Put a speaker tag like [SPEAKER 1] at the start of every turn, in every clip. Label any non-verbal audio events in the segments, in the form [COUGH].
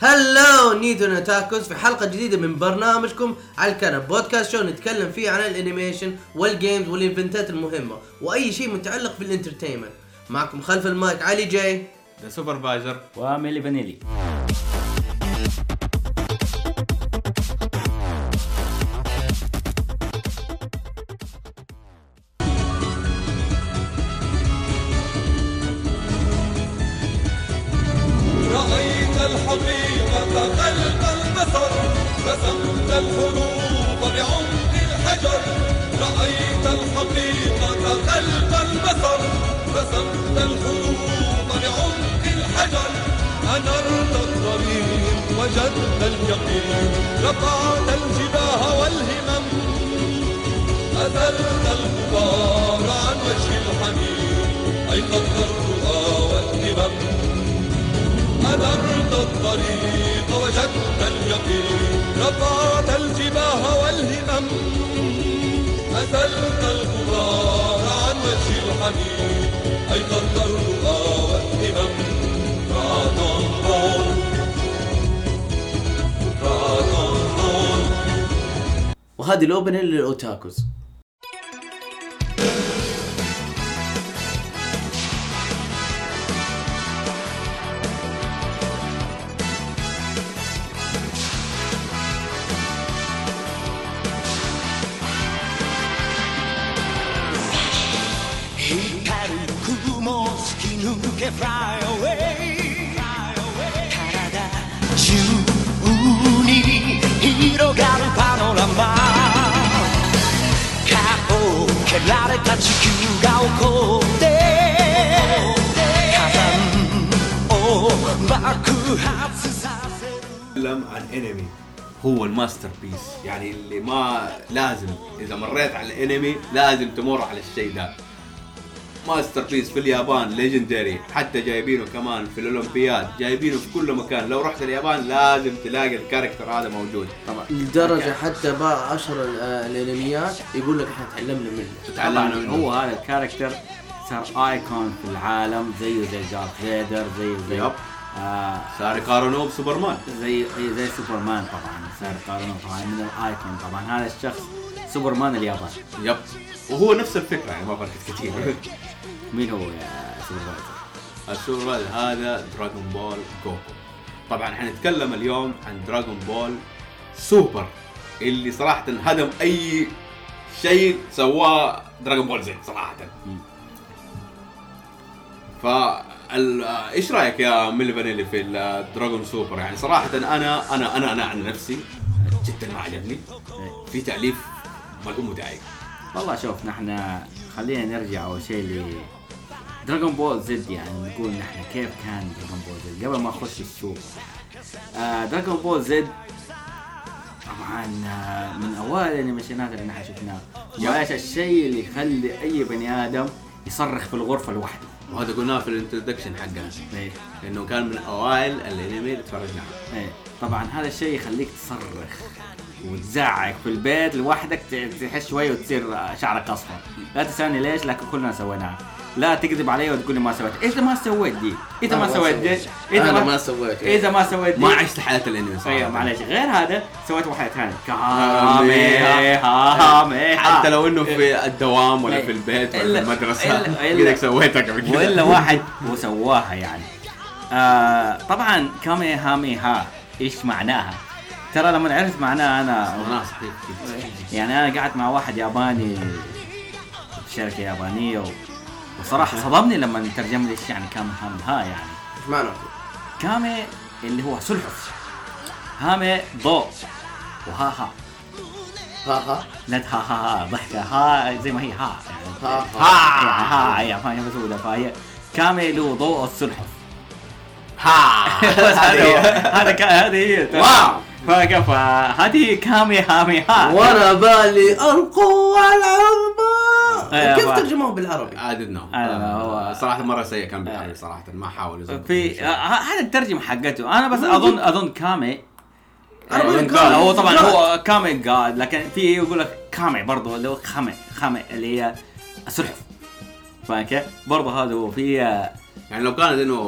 [SPEAKER 1] هلو نيدونا تاكوز في حلقة جديدة من برنامجكم على الكنب بودكاست شو نتكلم فيه عن الانيميشن والجيمز والايفنتات المهمة واي شيء متعلق بالاندرتينمنت معكم خلف المايك علي جاي
[SPEAKER 2] ذا سوبرفايزر
[SPEAKER 3] وميلي فانيلي
[SPEAKER 4] رأيت الحقيقة قلب البصر رسمت الحروب بعمق الحجر رأيت الحقيقة قلب البصر رسمت الحروب بعمق الحجر أنرت الطريق وجدت اليقين رفعت الجباه والهمم أزلت الغبار عن وجه الحميم أيقظت الرؤى والهمم أنرت الطريق وجدت اليقين رفعت الجباه والهمم أزلت الغبار عن وجه الحميم أيقظت الرؤى والهمم رعد رعد
[SPEAKER 1] وهذه الاوبننج للاوتاكوز
[SPEAKER 5] 光る雲を突き抜け Fly away 体中に広がるパノラマ顔を蹴られた地球が怒って火山を爆発させる
[SPEAKER 2] فيلم عن انمي هو الماستر بيس يعني اللي ما لازم اذا مريت على الانمي لازم تمر على الشيء ده ماستر بيس في اليابان ليجندري حتى جايبينه كمان في الاولمبياد جايبينه في كل مكان لو رحت اليابان لازم تلاقي الكاركتر هذا موجود طبعا
[SPEAKER 1] لدرجة حتى باع اشهر ال- آه، الانميات يقول لك احنا تعلمنا منه
[SPEAKER 3] طبعا
[SPEAKER 2] تتعلم منه
[SPEAKER 3] هو هذا الكاركتر صار ايكون في العالم زيه زي دارث فيدر زيه زي
[SPEAKER 2] يب.
[SPEAKER 3] آه،
[SPEAKER 2] صار يقارنوه بسوبرمان
[SPEAKER 3] زي زي سوبرمان طبعا صار يقارنه طبعا من الايكون طبعا هذا الشخص سوبرمان اليابان
[SPEAKER 2] يب وهو نفس الفكره يعني ما فرقت كثير [LAUGHS]
[SPEAKER 3] مين هو يا سوبرفايزر؟
[SPEAKER 2] السوبر هذا دراغون بول جوكو طبعا حنتكلم اليوم عن دراغون بول سوبر اللي صراحة هدم أي شيء سواه دراغون بول زد صراحة
[SPEAKER 3] مم.
[SPEAKER 2] فا ال- ايش رايك يا ميلي فانيلي في الدراغون سوبر يعني صراحة انا انا انا انا عن نفسي جدا ما عجبني
[SPEAKER 3] إيه.
[SPEAKER 2] في تأليف ما الام داعي
[SPEAKER 3] والله شوف نحن خلينا نرجع اول شيء ل دراغون بول زد يعني نقول نحن كيف كان دراغون بول زد قبل ما اخش السوق آه دراغون بول زد طبعا آه، من اوائل الانيميشنات اللي نحن شفناها وهذا الشيء اللي يخلي اي بني ادم يصرخ في الغرفه لوحده
[SPEAKER 2] وهذا قلناه في الانترودكشن حقنا
[SPEAKER 3] إيه.
[SPEAKER 2] انه كان من اوائل الانمي اللي تفرجنا عليه
[SPEAKER 3] ايه طبعا هذا الشيء يخليك تصرخ وتزعق في البيت لوحدك ت- تحس شويه وتصير شعرك اصفر لا تسالني ليش لكن كلنا سويناها لا تكذب علي وتقول لي ما سويت اذا ما سويت دي اذا
[SPEAKER 1] أنا
[SPEAKER 3] ما
[SPEAKER 1] ما
[SPEAKER 3] سويت دي
[SPEAKER 1] سويت.
[SPEAKER 3] اذا
[SPEAKER 1] أنا ما سويت.
[SPEAKER 3] اذا ما سويت دي
[SPEAKER 2] ما عشت حياة الانمي صراحة
[SPEAKER 3] ايوه معليش غير هذا سويت واحده ثانيه
[SPEAKER 2] كاميها.
[SPEAKER 3] كاميها
[SPEAKER 2] حتى
[SPEAKER 3] [LAUGHS]
[SPEAKER 2] لو انه في الدوام ولا
[SPEAKER 3] آه. إيه.
[SPEAKER 2] في البيت ولا في
[SPEAKER 3] إلا-
[SPEAKER 2] المدرسه
[SPEAKER 3] إلا- إلا-
[SPEAKER 2] كذا سويتها قبل كده
[SPEAKER 3] والا واحد وسواها يعني آه طبعا كاميهاميها ايش معناها ترى لما عرفت معناها انا
[SPEAKER 2] انا صحيح
[SPEAKER 3] يعني انا قعدت مع واحد ياباني في شركه يابانيه و... وصراحه صدمني لما ترجم لي ايش يعني كامي هامي ها يعني
[SPEAKER 1] ايش معنى
[SPEAKER 3] كامي اللي هو سلحف هامي ضوء وها ها
[SPEAKER 1] ها ها
[SPEAKER 3] لا ها ها ها ضحكه ها زي ما هي ها يعني
[SPEAKER 1] ها ها
[SPEAKER 3] ها ها يعني فاهم بسوي ده فهي كامي له ضوء
[SPEAKER 1] [LAUGHS]
[SPEAKER 3] السلحف بس [LAUGHS] هذا هو.
[SPEAKER 2] ها
[SPEAKER 3] هذا كا- هذه هي
[SPEAKER 2] واو.
[SPEAKER 3] فكفى هذه كامي هامي ها
[SPEAKER 1] وانا بالي القوة
[SPEAKER 3] إيه،
[SPEAKER 1] العظمى كيف
[SPEAKER 3] أبغى.
[SPEAKER 1] ترجموه بالعربي؟
[SPEAKER 2] عددنا
[SPEAKER 3] أنا- هو- آه.
[SPEAKER 2] صراحه مره آه، سيء كان بالعربي صراحه ما حاول
[SPEAKER 1] طيب،
[SPEAKER 2] يظبط
[SPEAKER 3] في آه، هذا الترجمه حقته انا بس اظن اظن كامي
[SPEAKER 1] أنا بقول
[SPEAKER 3] يعني
[SPEAKER 1] كامي.
[SPEAKER 3] هو طبعا
[SPEAKER 1] جاد.
[SPEAKER 3] هو كامي جاد لكن في يقول لك كامي برضه اللي هو خامي خامي اللي هي السلحف فاهم كيف؟ برضه هذا هو في آه،
[SPEAKER 2] يعني لو كانت انه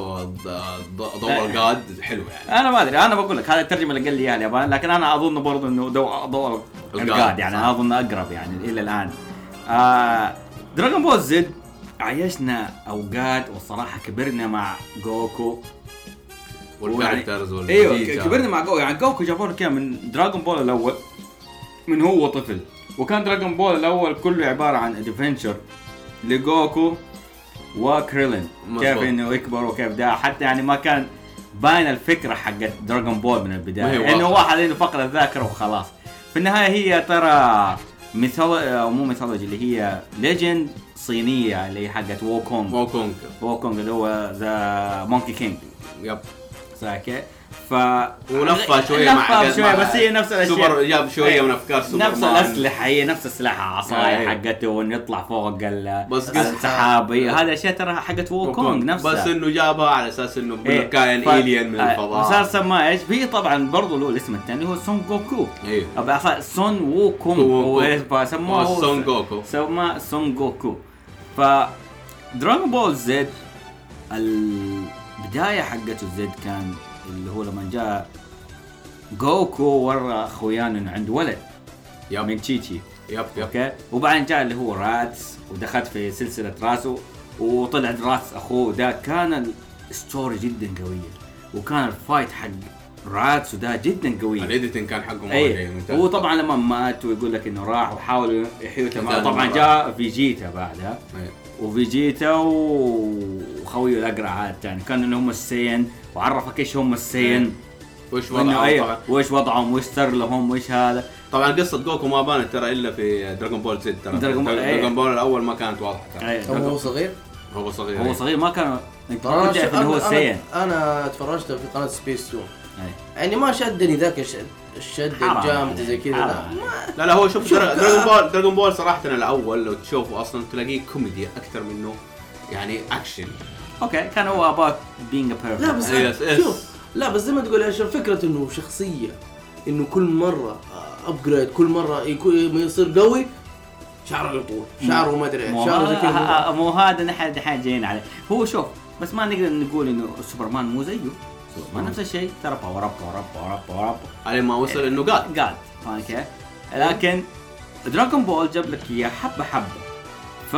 [SPEAKER 2] ضوء القاد حلو يعني
[SPEAKER 3] انا ما ادري انا بقول لك هذه الترجمه اللي قال لي اياها اليابان لكن انا اظن برضو انه دو دو
[SPEAKER 2] القاد،
[SPEAKER 3] القاد يعني
[SPEAKER 2] صح.
[SPEAKER 3] انا اظن اقرب يعني الى الان آه دراجون بول زد عيشنا اوقات والصراحه كبرنا مع جوكو
[SPEAKER 2] والكاركترز وال
[SPEAKER 3] ايوه ك- كبرنا مع جوكو يعني جوكو جابوا لك إياه من دراجون بول الاول من هو طفل وكان دراجون بول الاول كله عباره عن ادفنشر لجوكو وكريلين
[SPEAKER 2] مظبوط.
[SPEAKER 3] كيف انه يكبر وكيف ده حتى يعني ما كان باين الفكره حقت دراجون بول من
[SPEAKER 2] ما هي
[SPEAKER 3] البدايه
[SPEAKER 2] واضحة.
[SPEAKER 3] انه واحد انه فقد الذاكره وخلاص في النهايه هي ترى مثال او مو ميثولوجي اللي هي ليجند صينيه اللي هي حقت ووكونج
[SPEAKER 2] موكونج
[SPEAKER 3] ووكونج اللي هو ذا مونكي كينج
[SPEAKER 2] يب
[SPEAKER 3] ساكي ف
[SPEAKER 2] ولفها شويه مع
[SPEAKER 3] لفها
[SPEAKER 2] حاجات-
[SPEAKER 3] شويه
[SPEAKER 2] مع-
[SPEAKER 3] بس هي نفس الاشياء
[SPEAKER 2] سوبر جاب شويه
[SPEAKER 3] أيوة.
[SPEAKER 2] من افكار سوبر
[SPEAKER 3] نفس الاسلحه هي نفس السلاح
[SPEAKER 2] أيوة.
[SPEAKER 3] عصاية حقته وانه يطلع فوق ال-
[SPEAKER 2] بس قصة-
[SPEAKER 3] السحاب أيوة، هذه اشياء ترى حقت ووكونج نفسها
[SPEAKER 2] بس انه جابها على اساس انه
[SPEAKER 3] إيه،
[SPEAKER 2] كائن
[SPEAKER 3] ف-
[SPEAKER 2] الين من
[SPEAKER 3] آه، مسار
[SPEAKER 2] الفضاء
[SPEAKER 3] سماه ايش؟ في طبعا برضه له الاسم الثاني هو سون جوكو
[SPEAKER 2] ايوه
[SPEAKER 3] أو بعفا- سون ووكونج هو ايش بقى سموه
[SPEAKER 2] هو
[SPEAKER 3] هو
[SPEAKER 2] آه، سون جوكو.
[SPEAKER 3] سماه سون جوكو ف دراغون بول زد البدايه حقته زد كان اللي هو لما جاء جوكو ورا اخويانه انه عنده ولد من
[SPEAKER 2] يب
[SPEAKER 3] تشيتشي
[SPEAKER 2] يب يب
[SPEAKER 3] اوكي وبعدين جاء اللي هو راتس ودخلت في سلسله راسه وطلع راتس اخوه ده كان الستوري جدا قويه وكان الفايت حق راتس وده جدا قوي
[SPEAKER 2] الايديتنج كان حقه
[SPEAKER 3] اي
[SPEAKER 2] مره يعني ممتاز
[SPEAKER 3] هو طبعا إيه. لما مات ويقول لك انه راح وحاولوا يحيوا تمام
[SPEAKER 2] تمام.
[SPEAKER 3] طبعا جاء فيجيتا بعدها
[SPEAKER 2] إيه.
[SPEAKER 3] وفيجيتا و- وخويه الاقرع عاد يعني كانوا اللي هم السين وعرفك ايش هم السين
[SPEAKER 2] وش
[SPEAKER 3] وانه
[SPEAKER 2] وضعه
[SPEAKER 3] ايوه
[SPEAKER 2] طبعا
[SPEAKER 3] وايش وضعهم وايش صار لهم وايش هذا
[SPEAKER 2] طبعا قصه جوكو ما بانت ترى الا في دراجون بول زد ترى
[SPEAKER 3] دراجون بول، إيه.
[SPEAKER 2] دراجون بول الاول ما كانت واضحه ترى
[SPEAKER 3] أيوة.
[SPEAKER 1] هو صغير
[SPEAKER 2] هو صغير
[SPEAKER 3] هو
[SPEAKER 2] إيه.
[SPEAKER 3] صغير ما كان انت
[SPEAKER 1] ترى أنا-
[SPEAKER 3] كنت تعرف انه هو إيه.
[SPEAKER 1] أنا-
[SPEAKER 3] سيئ
[SPEAKER 1] انا تفرجت في قناه سبيس تون يعني ما شدني ذاك الش- الشد
[SPEAKER 3] حرام
[SPEAKER 1] الجامد
[SPEAKER 3] عليك،
[SPEAKER 1] زي كذا لا
[SPEAKER 3] حرام.
[SPEAKER 1] ما-
[SPEAKER 2] لا لا هو شوف
[SPEAKER 1] شوف،
[SPEAKER 2] درا-
[SPEAKER 1] آه.
[SPEAKER 2] دراجون بول دراجون بول صراحه الاول لو تشوفه اصلا تلاقيه كوميدي اكثر منه يعني اكشن
[SPEAKER 3] اوكي كان هو اباك بينج بيرفكت
[SPEAKER 1] لا بس
[SPEAKER 2] Yes, yes.
[SPEAKER 1] شوف لا بس زي ما تقول عشان فكره انه شخصيه انه كل مره ابجريد كل مره يكون ما يصير قوي شعره يطول شعره ما ادري إيش،
[SPEAKER 3] مو آه،
[SPEAKER 1] شعره زي كذا
[SPEAKER 3] هذا مو هذا نحن دحين جايين عليه هو شوف بس ما نقدر نقول انه سوبرمان مو زيه ما نفس الشيء ترى باور اب باور اب باور اب باور اب
[SPEAKER 2] على ما وصل انه قال
[SPEAKER 3] جاد فاهم كيف؟ لكن دراغون بول جاب لك اياه حبه حبه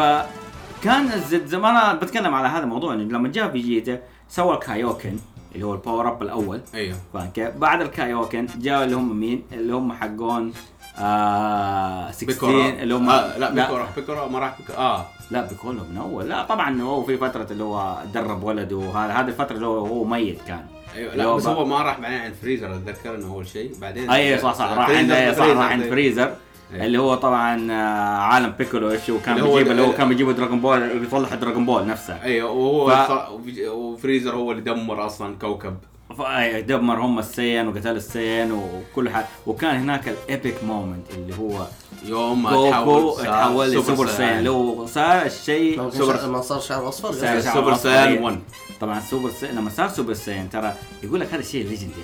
[SPEAKER 3] فكان الزد زي ما انا بتكلم على هذا الموضوع انه لما جاء فيجيتا سوى الكايوكن اللي هو الباور اب الاول
[SPEAKER 2] ايوه
[SPEAKER 3] فاهم كيف؟ بعد الكايوكن جاء اللي هم مين؟ اللي هم حقون آه 16
[SPEAKER 2] بيكورا
[SPEAKER 3] اللي هم
[SPEAKER 2] آه لا بيكورا بيكورا ما راح بيكورا اه
[SPEAKER 3] لا بيكولو من اول لا طبعا هو في فتره اللي هو درب ولده وهذا هذه الفتره اللي هو هو ميت كان
[SPEAKER 2] ايوه
[SPEAKER 3] اللي
[SPEAKER 2] لا بس
[SPEAKER 3] بقى-
[SPEAKER 2] هو ما راح بعدين عند فريزر اتذكر انه اول شيء بعدين
[SPEAKER 3] اي أيوة، صح صح راح عند
[SPEAKER 2] فريزر-
[SPEAKER 3] أي صح راح عند
[SPEAKER 2] أي.
[SPEAKER 3] فريزر
[SPEAKER 2] أيوة.
[SPEAKER 3] اللي هو طبعا آه، عالم بيكولو ايش وكان
[SPEAKER 2] اللي هو-
[SPEAKER 3] بيجيب اللي هو كان بيجيب دراغون بول بيطلع دراغون بول نفسه
[SPEAKER 2] ايوه وهو
[SPEAKER 3] ف-
[SPEAKER 2] ص- وفي- وفريزر هو اللي دمر اصلا كوكب
[SPEAKER 3] ف- أي، دمر هم السين وقتل السين وكل حاجه وكان هناك الايبك مومنت اللي هو
[SPEAKER 2] يوم ما
[SPEAKER 3] جوكو
[SPEAKER 2] تحول
[SPEAKER 3] تحول لسوبر سايان اللي هو صار
[SPEAKER 1] لو
[SPEAKER 3] الشيء
[SPEAKER 1] كان
[SPEAKER 2] سوبر-
[SPEAKER 1] شعر- ما صار شعره اصفر
[SPEAKER 3] صار
[SPEAKER 1] قصدك.
[SPEAKER 3] شعر
[SPEAKER 2] سوبر
[SPEAKER 3] أصفر.
[SPEAKER 2] سايان 1.
[SPEAKER 3] طبعا سوبر سايان لما صار سوبر سايان ترى يقول لك هذا الشيء ليجندري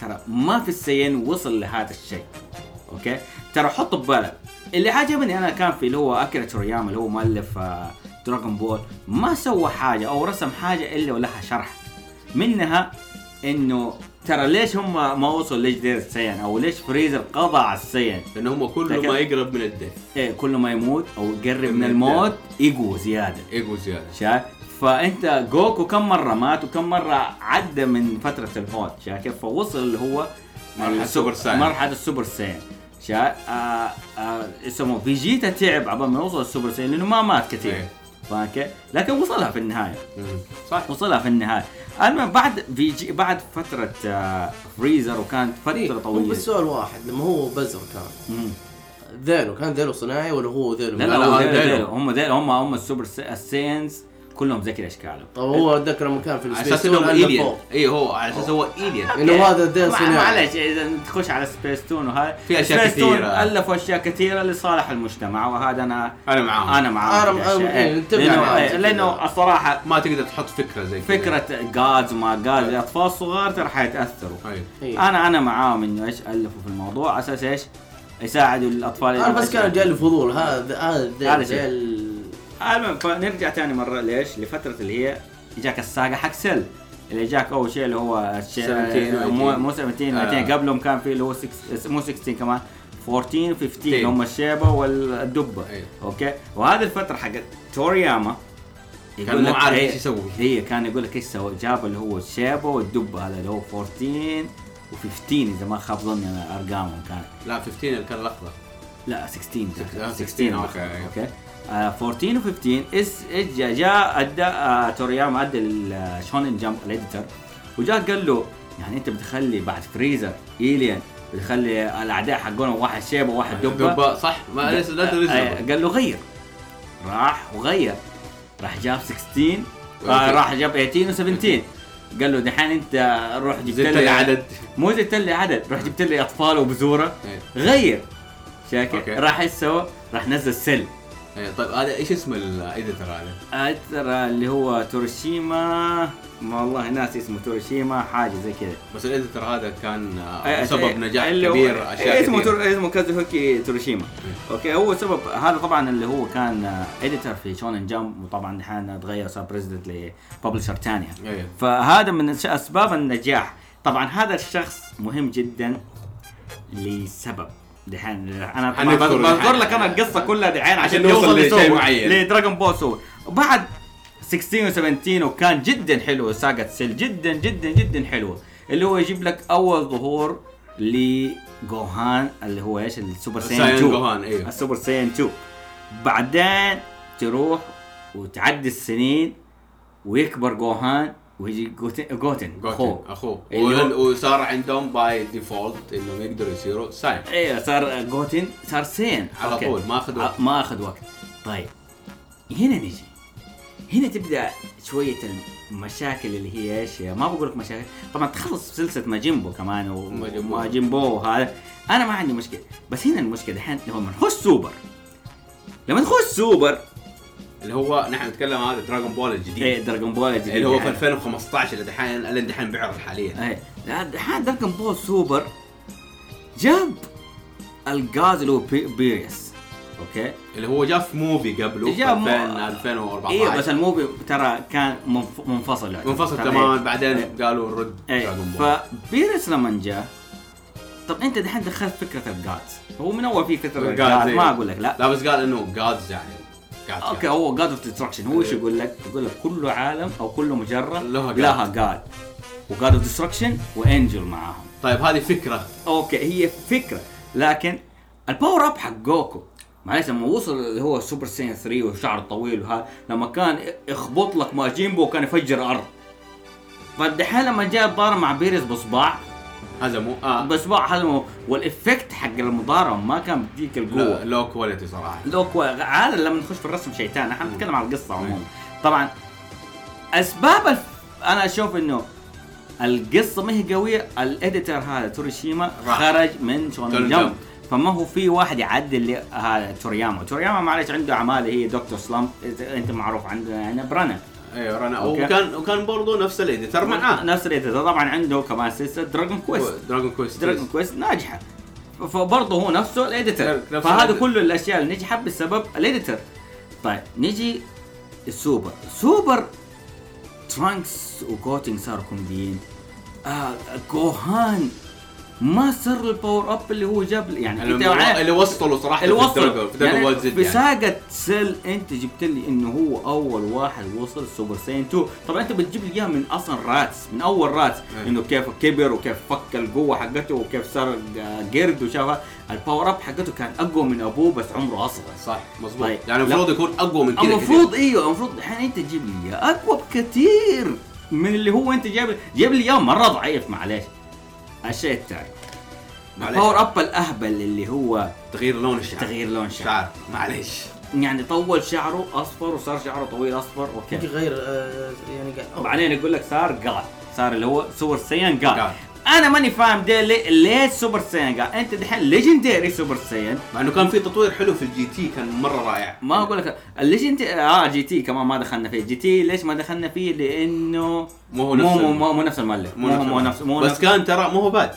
[SPEAKER 3] ترى ما في السايان وصل لهذا الشيء اوكي ترى حط ببالك اللي عجبني انا كان في اللي هو اكيرا تورياما اللي هو مؤلف دراغون بول ما سوى حاجه او رسم حاجه الا ولها شرح منها انه ترى ليش هم ما وصلوا ليجندري السايان او ليش فريزر قضى على السايان
[SPEAKER 2] لان هم كله
[SPEAKER 3] لكن-
[SPEAKER 2] ما يقرب من الديث
[SPEAKER 3] إيه كل ما يموت او يقرب
[SPEAKER 2] من
[SPEAKER 3] من الموت يقوى زياده
[SPEAKER 2] ايجو زياده
[SPEAKER 3] شايف فانت جوكو كم مره مات وكم مره عدى من فتره الموت شايف كيف فوصل اللي هو
[SPEAKER 2] مرحلة
[SPEAKER 3] السو-
[SPEAKER 2] سوبر سايان.
[SPEAKER 3] مرحله السوبر سايان شايف آه آه يسموه فيجيتا تعب عبال ما يوصل السوبر سايان لانه ما مات كثير
[SPEAKER 2] إيه.
[SPEAKER 3] فاهم كيف؟ لكن وصلها في النهايه
[SPEAKER 2] مم. صح
[SPEAKER 3] وصلها في النهايه المهم بعد فيجي بعد فتره آه فريزر وكانت
[SPEAKER 1] إيه،
[SPEAKER 3] فتره
[SPEAKER 1] هو
[SPEAKER 3] طويله
[SPEAKER 1] بس سؤال واحد لما هو بزر كان
[SPEAKER 3] مم.
[SPEAKER 1] ذيله كان ذيله صناعي ولا هو ذيله
[SPEAKER 3] لا
[SPEAKER 2] لا،
[SPEAKER 3] لا هو
[SPEAKER 2] هذا
[SPEAKER 3] ديلو-
[SPEAKER 2] ديلو.
[SPEAKER 3] ديلو. هم ديلو هم هم السوبر سا- الساينز كلهم زي كذا اشكالهم
[SPEAKER 1] طب هو اتذكر لما كان في
[SPEAKER 2] على
[SPEAKER 1] السبيس
[SPEAKER 2] اساس
[SPEAKER 1] تون
[SPEAKER 2] انه
[SPEAKER 1] عنده
[SPEAKER 2] الين
[SPEAKER 1] فوق.
[SPEAKER 2] اي إيه، هو على اساس هو الين
[SPEAKER 1] انه هذا ذيل
[SPEAKER 3] إيه. مع-
[SPEAKER 1] صناعي
[SPEAKER 3] معلش اذا تخش على سبيس تون وهذا
[SPEAKER 2] في أشياء
[SPEAKER 3] سبيس تون
[SPEAKER 2] كثيرة.
[SPEAKER 3] الفوا اشياء كثيره لصالح المجتمع وهذا انا
[SPEAKER 2] انا معاهم
[SPEAKER 3] انا معاه
[SPEAKER 1] أنا- أنا- إيه، نتفق معاهم.
[SPEAKER 3] لانه إيه، لانه الصراحه
[SPEAKER 2] ما تقدر تحط فكره زي كذا
[SPEAKER 3] فكره جادز وما جادز الاطفال الصغار ترى حيتاثروا
[SPEAKER 2] أيوة.
[SPEAKER 1] إيه.
[SPEAKER 3] انا انا معاهم انه ايش الفوا في الموضوع على اساس ايش يساعدوا الاطفال
[SPEAKER 1] انا بس كان جاي لي فضول هذا هذا
[SPEAKER 3] يعني. هذا
[SPEAKER 1] ذيل-
[SPEAKER 3] شيء.
[SPEAKER 1] ذيل
[SPEAKER 3] المهم فنرجع ثاني مره ليش؟ لفتره اللي هي اجاك الساقه حق سيل اللي جاك اول شيء اللي هو الشيء
[SPEAKER 2] 17
[SPEAKER 3] مو مو 17
[SPEAKER 2] آه.
[SPEAKER 3] 18 قبلهم كان في اللي هو 6 مو 16 كمان 14 15
[SPEAKER 2] 15.
[SPEAKER 3] هم الشيبه والدبه
[SPEAKER 2] أيوة.
[SPEAKER 3] اوكي وهذه الفتره حقت تورياما
[SPEAKER 2] كان مو عارف إيش يسوي.
[SPEAKER 3] هي كان يقول لك ايش سوى جاب اللي هو الشيبه والدبه هذا اللي هو 14 و15 اذا ما خاب ظني أنا ارقامهم كانت
[SPEAKER 2] لا 15 اللي كان لحظه
[SPEAKER 3] لا 16
[SPEAKER 2] آه،
[SPEAKER 3] 16
[SPEAKER 2] أوكي،
[SPEAKER 3] أعتقد،
[SPEAKER 2] أيوه.
[SPEAKER 3] اوكي آه، 14 و15 اس إج- جاء ادى آه، تورياما ادى لشونن جمب الاديتر وجاء قال له يعني انت بتخلي بعد فريزر ايليان بتخلي الاعداء حقهم واحد شيبه وواحد دبه
[SPEAKER 2] دبه صح ما ليس لا
[SPEAKER 3] آه،
[SPEAKER 2] تنزل
[SPEAKER 3] قال له غير راح وغير راح جاب 16 آه، راح جاب 18 و17 قال له دحين انت روح جبت
[SPEAKER 2] زدت
[SPEAKER 3] لي
[SPEAKER 2] العدد
[SPEAKER 3] مو جبت لي عدد روح جبت لي اطفال وبزوره
[SPEAKER 2] إيه.
[SPEAKER 3] غير شاكر
[SPEAKER 2] أوكي.
[SPEAKER 3] راح ايش سوى؟ راح نزل سيل
[SPEAKER 2] إيه، طيب هذا ايش اسم الايديتر هذا؟
[SPEAKER 3] آه، ترى اللي هو تورشيما ما والله ناس اسمه تورشيما حاجه زي كذا
[SPEAKER 2] بس الايديتر هذا كان آه،
[SPEAKER 3] آه،
[SPEAKER 2] سبب نجاح
[SPEAKER 3] اللي هو- إيه،
[SPEAKER 2] كبير إيه. اشياء
[SPEAKER 3] اسمه
[SPEAKER 2] كثير.
[SPEAKER 3] تور... اسمه كازوهوكي توريشيما اوكي هو سبب هذا طبعا اللي هو كان اديتور في شونن جمب وطبعا دحين تغير صار بريزدنت لببلشر ثانيه
[SPEAKER 2] إيه.
[SPEAKER 3] فهذا من الش- اسباب النجاح طبعا هذا الشخص مهم جدا لسبب دحين انا طبعاً
[SPEAKER 2] حنذكر
[SPEAKER 3] بذ-
[SPEAKER 2] دحين.
[SPEAKER 3] بذكر لك انا القصه كلها دحين عشان
[SPEAKER 2] عشان
[SPEAKER 3] نوصل
[SPEAKER 2] نوصل لشيء
[SPEAKER 3] لسوبر-
[SPEAKER 2] معين.
[SPEAKER 3] لدراجون بول سوبر بعد 16 و17 وكان جدا حلو ساقة سيل جدا جدا جدا حلوه اللي هو يجيب لك اول ظهور لجوهان اللي هو ايش السوبر ساين
[SPEAKER 2] ساين
[SPEAKER 3] 2
[SPEAKER 2] جوهان، أيوه.
[SPEAKER 3] السوبر ساين 2 بعدين تروح وتعدي السنين ويكبر جوهان ويجي جوتن جوتن
[SPEAKER 2] جوتن اخوه
[SPEAKER 3] اللي هو-
[SPEAKER 2] ول- وصار عندهم باي ديفولت انهم يقدروا يصيروا ساين
[SPEAKER 3] ايوه صار جوتن صار سين
[SPEAKER 2] على
[SPEAKER 3] أوكي. آه،
[SPEAKER 2] طول، ما أخذ وقت.
[SPEAKER 3] ما اخذ وقت طيب هنا نجي هنا تبدا شويه المشاكل اللي هي ايش ما بقول لك مشاكل طبعا تخلص سلسله ماجيمبو كمان و-
[SPEAKER 2] ماجيمبو.
[SPEAKER 3] وماجيمبو وهذا انا ما عندي مشكله بس هنا المشكله الحين لما نخش سوبر لما نخش سوبر
[SPEAKER 2] اللي هو نحن نتكلم هذا دراغون بول
[SPEAKER 3] ايه
[SPEAKER 2] الجديد
[SPEAKER 3] دراجون بول الجديد
[SPEAKER 2] اللي هو في
[SPEAKER 3] هذا.
[SPEAKER 2] 2015 اللي دحين اللي دحين بيعرض حاليا
[SPEAKER 3] ايه لا، الحين دراجون بول سوبر جاب الغاز اللي هو بي- بيريس اوكي
[SPEAKER 2] اللي هو جاء في موفي قبله في
[SPEAKER 3] جاء مو-
[SPEAKER 2] 2000 2014
[SPEAKER 3] ايوه بس الموفي ترى كان منف- منفصل يعتبر.
[SPEAKER 2] منفصل
[SPEAKER 3] ترى
[SPEAKER 2] تماما
[SPEAKER 3] إيه.
[SPEAKER 2] بعدين قالوا نرد
[SPEAKER 3] ايه
[SPEAKER 2] دراغون بول
[SPEAKER 3] فبيرس لما جاء طب انت دحين دخلت فكره الجادز هو من اول في فكره
[SPEAKER 2] God
[SPEAKER 3] الجادز
[SPEAKER 2] زي-
[SPEAKER 3] ما اقول لك لا
[SPEAKER 2] إيه. لا بس قال انه جادز يعني gods
[SPEAKER 3] اوكي
[SPEAKER 2] يعني.
[SPEAKER 3] هو جاد اوف ديستركشن هو ايش يقول لك؟ يقول لك كل عالم او كل مجره
[SPEAKER 2] إيه. لها God.
[SPEAKER 3] لها جاد وجاد اوف ديستركشن وانجل معاهم
[SPEAKER 2] طيب هذه فكره
[SPEAKER 3] اوكي هي فكره لكن الباور اب حق جوكو معلش لما وصل اللي هو سوبر سين 3 وشعره طويل وهذا لما كان يخبط لك ماجيمبو كان يفجر ارض فالدحين لما جاء ضارب مع بيريز بصباع
[SPEAKER 2] هزموا اه
[SPEAKER 3] بصباع هذا والافكت حق المضاربه ما كان بديك القوه
[SPEAKER 2] لو كواليتي صراحه
[SPEAKER 3] لو كو- هذا لما نخش في الرسم شيء ثاني احنا نتكلم عن القصه عموما طبعا اسباب الف... انا اشوف انه القصه ما هي قويه الاديتر هذا توريشيما
[SPEAKER 2] راح.
[SPEAKER 3] خرج من
[SPEAKER 2] شونن
[SPEAKER 3] شونن
[SPEAKER 2] جمب.
[SPEAKER 3] جمب فما هو في واحد يعدل لي- هذا تورياما تورياما معلش عنده اعمال هي دكتور سلام إنت- انت معروف عندنا يعني برانا
[SPEAKER 2] ايوه رنا
[SPEAKER 3] أوكي. نعم،
[SPEAKER 2] وكان وكان برضه نفس الاديتر معاه
[SPEAKER 3] نفس الاديتر طبعا عنده كمان سلسله دراجون كويست
[SPEAKER 2] دراجون كويست
[SPEAKER 3] دراجون كويست ناجحه فبرضه هو نفسه الاديتر
[SPEAKER 2] نفس
[SPEAKER 3] فهذا
[SPEAKER 2] الإيديتر.
[SPEAKER 3] كل الاشياء اللي نجحت بسبب الاديتر طيب نجي السوبر سوبر ترانكس وجوتنج صاروا كوميديين آه جوهان ما صار الباور اب اللي هو جاب يعني
[SPEAKER 2] اللي,
[SPEAKER 3] أنت معايا؟
[SPEAKER 2] اللي وصلوا صراحه
[SPEAKER 3] اللي
[SPEAKER 2] في دراجون
[SPEAKER 3] وصل
[SPEAKER 2] في دراجون بول زد
[SPEAKER 3] في
[SPEAKER 2] يعني
[SPEAKER 3] ساقة سيل انت جبت لي انه هو اول واحد وصل سوبر ساين 2 طبعا انت بتجيب لي اياها من اصلا راتس من اول راتس
[SPEAKER 2] ايه.
[SPEAKER 3] انه كيف كبر وكيف فك القوه حقته وكيف صار قرد وشافها الباور اب حقته كان اقوى من ابوه بس عمره اصغر
[SPEAKER 2] صح مظبوط
[SPEAKER 3] طيب.
[SPEAKER 2] يعني المفروض يكون اقوى من كذا
[SPEAKER 3] المفروض ايوه المفروض الحين انت تجيب لي اياه اقوى بكثير من اللي هو انت جايب جايب لي اياه مره ضعيف معليش الشيء الثاني
[SPEAKER 2] معليش.
[SPEAKER 3] الباور اب الاهبل اللي هو
[SPEAKER 2] كثير. تغيير لون الشعر
[SPEAKER 3] تغيير لون شعر
[SPEAKER 2] شعر معليش
[SPEAKER 3] يعني طول شعره اصفر وصار شعره طويل اصفر
[SPEAKER 1] يجي
[SPEAKER 3] اوكي
[SPEAKER 1] غير آه، يعني قاعد أوه.
[SPEAKER 3] بعدين يقول لك صار قال صار اللي هو سوبر سايان قال
[SPEAKER 2] قال.
[SPEAKER 3] انا ماني فاهم ده ليه, ليه سوبر سايان قال انت دحين ليجندري سوبر سايان
[SPEAKER 2] مع انه كان في تطوير حلو في الجي تي كان مره رائع
[SPEAKER 3] ما اقول لك الليجند اه جي تي كمان ما دخلنا فيه جي تي ليش ما دخلنا فيه لانه
[SPEAKER 2] مو هو نفس
[SPEAKER 3] مو,
[SPEAKER 2] الم-
[SPEAKER 3] مو, مو نفس المؤلف مو, مو نفس مو
[SPEAKER 2] بس
[SPEAKER 3] نفس
[SPEAKER 2] كان ترى مو هو باد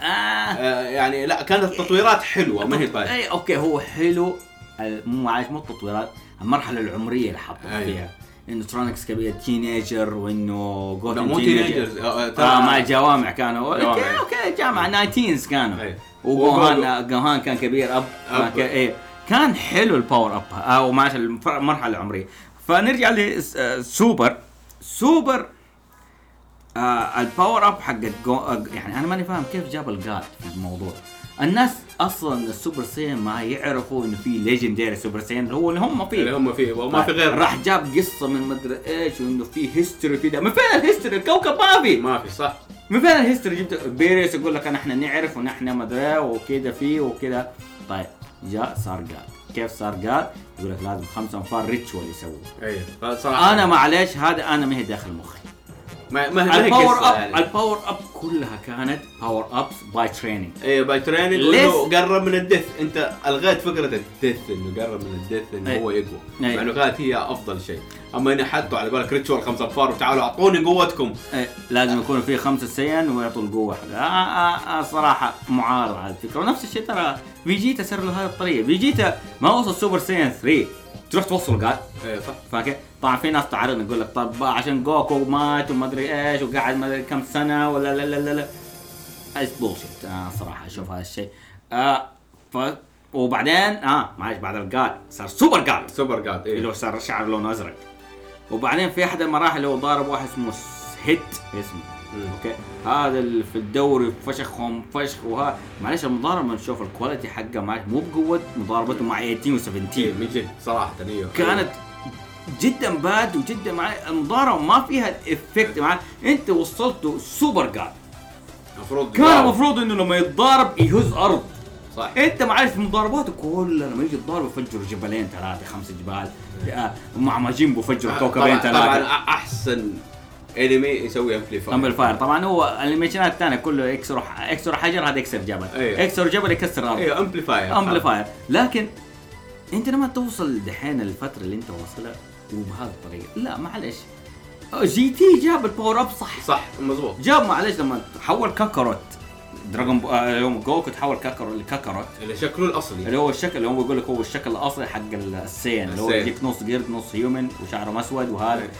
[SPEAKER 3] آه
[SPEAKER 2] آه يعني لا كانت التطويرات حلوه ما هي
[SPEAKER 3] طيب.
[SPEAKER 2] باد
[SPEAKER 3] إيه، اي اوكي هو حلو ال- مو معلش مو التطويرات المرحله العمريه اللي حطوا
[SPEAKER 2] أيوة.
[SPEAKER 3] فيها انه ترونكس كبير تينيجر وانه
[SPEAKER 2] لا،
[SPEAKER 3] جوثم
[SPEAKER 2] مو
[SPEAKER 3] teenager.
[SPEAKER 2] تينيجرز آه، آه، ترى-
[SPEAKER 3] اه مع الجوامع كانوا
[SPEAKER 2] جوامع. أيوه.
[SPEAKER 3] اوكي اوكي جامعة نايتينز كانوا
[SPEAKER 2] أي.
[SPEAKER 3] وجوهان جوهان كان كبير اب,
[SPEAKER 2] أب.
[SPEAKER 3] أب. ايه كان حلو الباور اب او ماشي الف- المرحلة العمرية فنرجع لسوبر سوبر آه الباور اب حق جو... آه، يعني انا ماني فاهم كيف جاب الجاد في الموضوع الناس اصلا السوبر سايان ما يعرفوا انه في ليجندري سوبر سايان اللي هو اللي هم فيه
[SPEAKER 2] اللي هم فيه وما في غير
[SPEAKER 3] طيب. راح جاب قصه من مدري ايش وانه في هيستوري في ده من فين الهيستوري الكوكب ما في
[SPEAKER 2] ما في صح
[SPEAKER 3] من فين الهيستوري جبت بيريس يقول لك أنا احنا نعرف ونحن إيه، مدري وكذا فيه وكذا طيب جاء صار قال كيف صار قال يقول لك لازم خمسة انفار ريتشوال يسووا
[SPEAKER 2] اي صراحه
[SPEAKER 3] انا معليش هذا انا ما هي داخل مخي
[SPEAKER 2] ما ما ما هي
[SPEAKER 3] الباور
[SPEAKER 2] قصة
[SPEAKER 3] اب
[SPEAKER 2] يعني.
[SPEAKER 3] الباور اب كلها كانت باور ابس باي تريننج
[SPEAKER 2] ايه باي تريننج
[SPEAKER 3] ليش؟
[SPEAKER 2] انه قرب من الدث انت الغيت فكره الدث انه قرب من الدث انه
[SPEAKER 3] أي.
[SPEAKER 2] هو يقوى
[SPEAKER 3] أي.
[SPEAKER 2] مع انه كانت هي افضل شيء اما انه حطوا على بالك ريتشوال خمس انفار وتعالوا اعطوني قوتكم
[SPEAKER 3] إيه، لازم يكون في خمسة سيان ويعطوا القوة حقها آه آه آه صراحة معارض على الفكرة ونفس الشيء ترى فيجيتا سر له هذه الطريقة فيجيتا ما وصل سوبر سيان 3 تروح توصل قال
[SPEAKER 2] ايه صح
[SPEAKER 3] فاكر طبعا في ناس تعرض يقول لك طب عشان جوكو مات وما ادري ايش وقعد ما ادري كم سنة ولا لا لا لا لا هذا بولشيت آه صراحة اشوف هذا الشيء آه ف وبعدين اه معلش بعد الجاد صار سوبر جاد
[SPEAKER 2] سوبر جاد
[SPEAKER 3] اللي
[SPEAKER 2] ايه
[SPEAKER 3] هو إيه. صار شعر لونه ازرق وبعدين في احد المراحل هو ضارب واحد اسمه س- هيت اسمه
[SPEAKER 2] مم.
[SPEAKER 3] اوكي هذا اللي في الدوري فشخهم فشخ وها معلش المضاربه نشوف الكواليتي حقه معلش مو بقوه مضاربته مع 18
[SPEAKER 2] إيه،
[SPEAKER 3] و17
[SPEAKER 2] من جد صراحه ايوه
[SPEAKER 3] كانت جدا باد وجدا مع المضاربه ما فيها الافكت مع انت وصلته سوبر جاد
[SPEAKER 2] المفروض
[SPEAKER 3] كان المفروض انه لما يتضارب يهز إيه، ارض
[SPEAKER 2] صح
[SPEAKER 3] انت معرف مضارباته كلها لما يجي الضارب يفجر جبلين ثلاثه خمسه جبال آه، مع ماجيمبو فجر كوكبين
[SPEAKER 2] آه، طبعاً- طبعا
[SPEAKER 3] ثلاثه
[SPEAKER 2] أ- احسن انمي يسوي امبليفاير
[SPEAKER 3] امبل فاير طبعا هو الانيميشنات الثانيه كله يكسر يكسر حجر هذا يكسر جبل
[SPEAKER 2] ايوه.
[SPEAKER 3] يكسر جبل يكسر ارض
[SPEAKER 2] ايوه امبليفاير
[SPEAKER 3] امبليفاير لكن انت لما توصل دحين الفتره اللي انت واصلها وبهذه الطريقه لا معلش جي تي جاب الباور اب صح
[SPEAKER 2] صح مظبوط
[SPEAKER 3] جاب معلش لما تحول كاكاروت دراجون بو... آه، يوم جوكو تحول كاكاروت لكاكاروت
[SPEAKER 2] اللي شكله الاصلي
[SPEAKER 3] اللي هو الشكل اللي هو بيقول لك هو الشكل الاصلي حق ال- السين اللي هو
[SPEAKER 2] السين.
[SPEAKER 3] يجيك نص قرد نص هيومن وشعره اسود وهذا
[SPEAKER 2] إيه.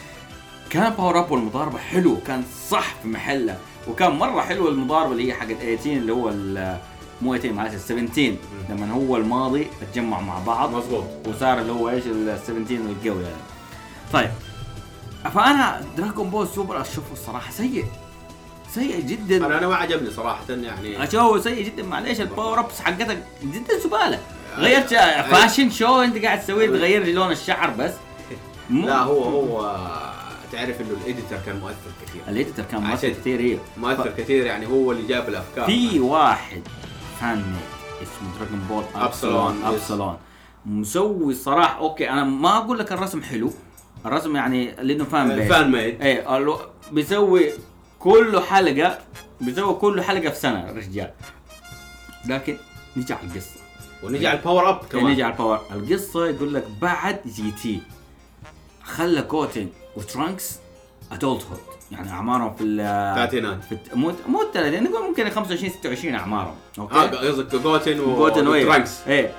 [SPEAKER 3] كان باور اب والمضاربه حلو كان صح في محله وكان مره حلو المضاربه اللي هي حقت 18 اللي هو ال- مو 18 معلش ال 17 لما هو الماضي اتجمع مع بعض
[SPEAKER 2] مظبوط
[SPEAKER 3] وصار اللي هو ايش ال 17 القوي يعني طيب فانا دراجون بول سوبر اشوفه الصراحه سيء سيء جدا
[SPEAKER 2] انا انا ما عجبني صراحه يعني
[SPEAKER 3] اشوفه سيء جدا معليش الباور ابس حقتك جدا زباله غيرت شا- فاشن شو انت قاعد تسويه تغير لي لون الشعر بس مو-
[SPEAKER 2] لا هو هو آه، تعرف انه الاديتر كان مؤثر كثير
[SPEAKER 3] الاديتر كان مؤثر
[SPEAKER 2] عشان-
[SPEAKER 3] كثير هي
[SPEAKER 2] مؤثر كثير يعني هو اللي جاب الافكار
[SPEAKER 3] في واحد فان ميد اسمه دراجون بول
[SPEAKER 2] أبسلون،
[SPEAKER 3] ابسلون
[SPEAKER 2] يس.
[SPEAKER 3] ابسلون مسوي صراحه اوكي انا ما اقول لك الرسم حلو الرسم يعني لانه فان بيس
[SPEAKER 2] الفان ميد
[SPEAKER 3] ايه الو... بيسوي كل حلقه بيسوي كل حلقه في سنه الرجال لكن نجي على القصه
[SPEAKER 2] ونجي على الباور اب
[SPEAKER 3] كمان. نجي
[SPEAKER 2] كمان
[SPEAKER 3] يعني على الباور القصه يقول لك بعد جي تي خلى كوتن وترانكس ادولت هود يعني اعمارهم في ال
[SPEAKER 2] الثلاثينات
[SPEAKER 3] في الت- مو مو الثلاثين نقول ممكن 25 26 اعمارهم
[SPEAKER 2] اه
[SPEAKER 3] اوكي
[SPEAKER 2] قصدك جوتن و...
[SPEAKER 3] كوتن وي-
[SPEAKER 2] وترانكس
[SPEAKER 3] ايه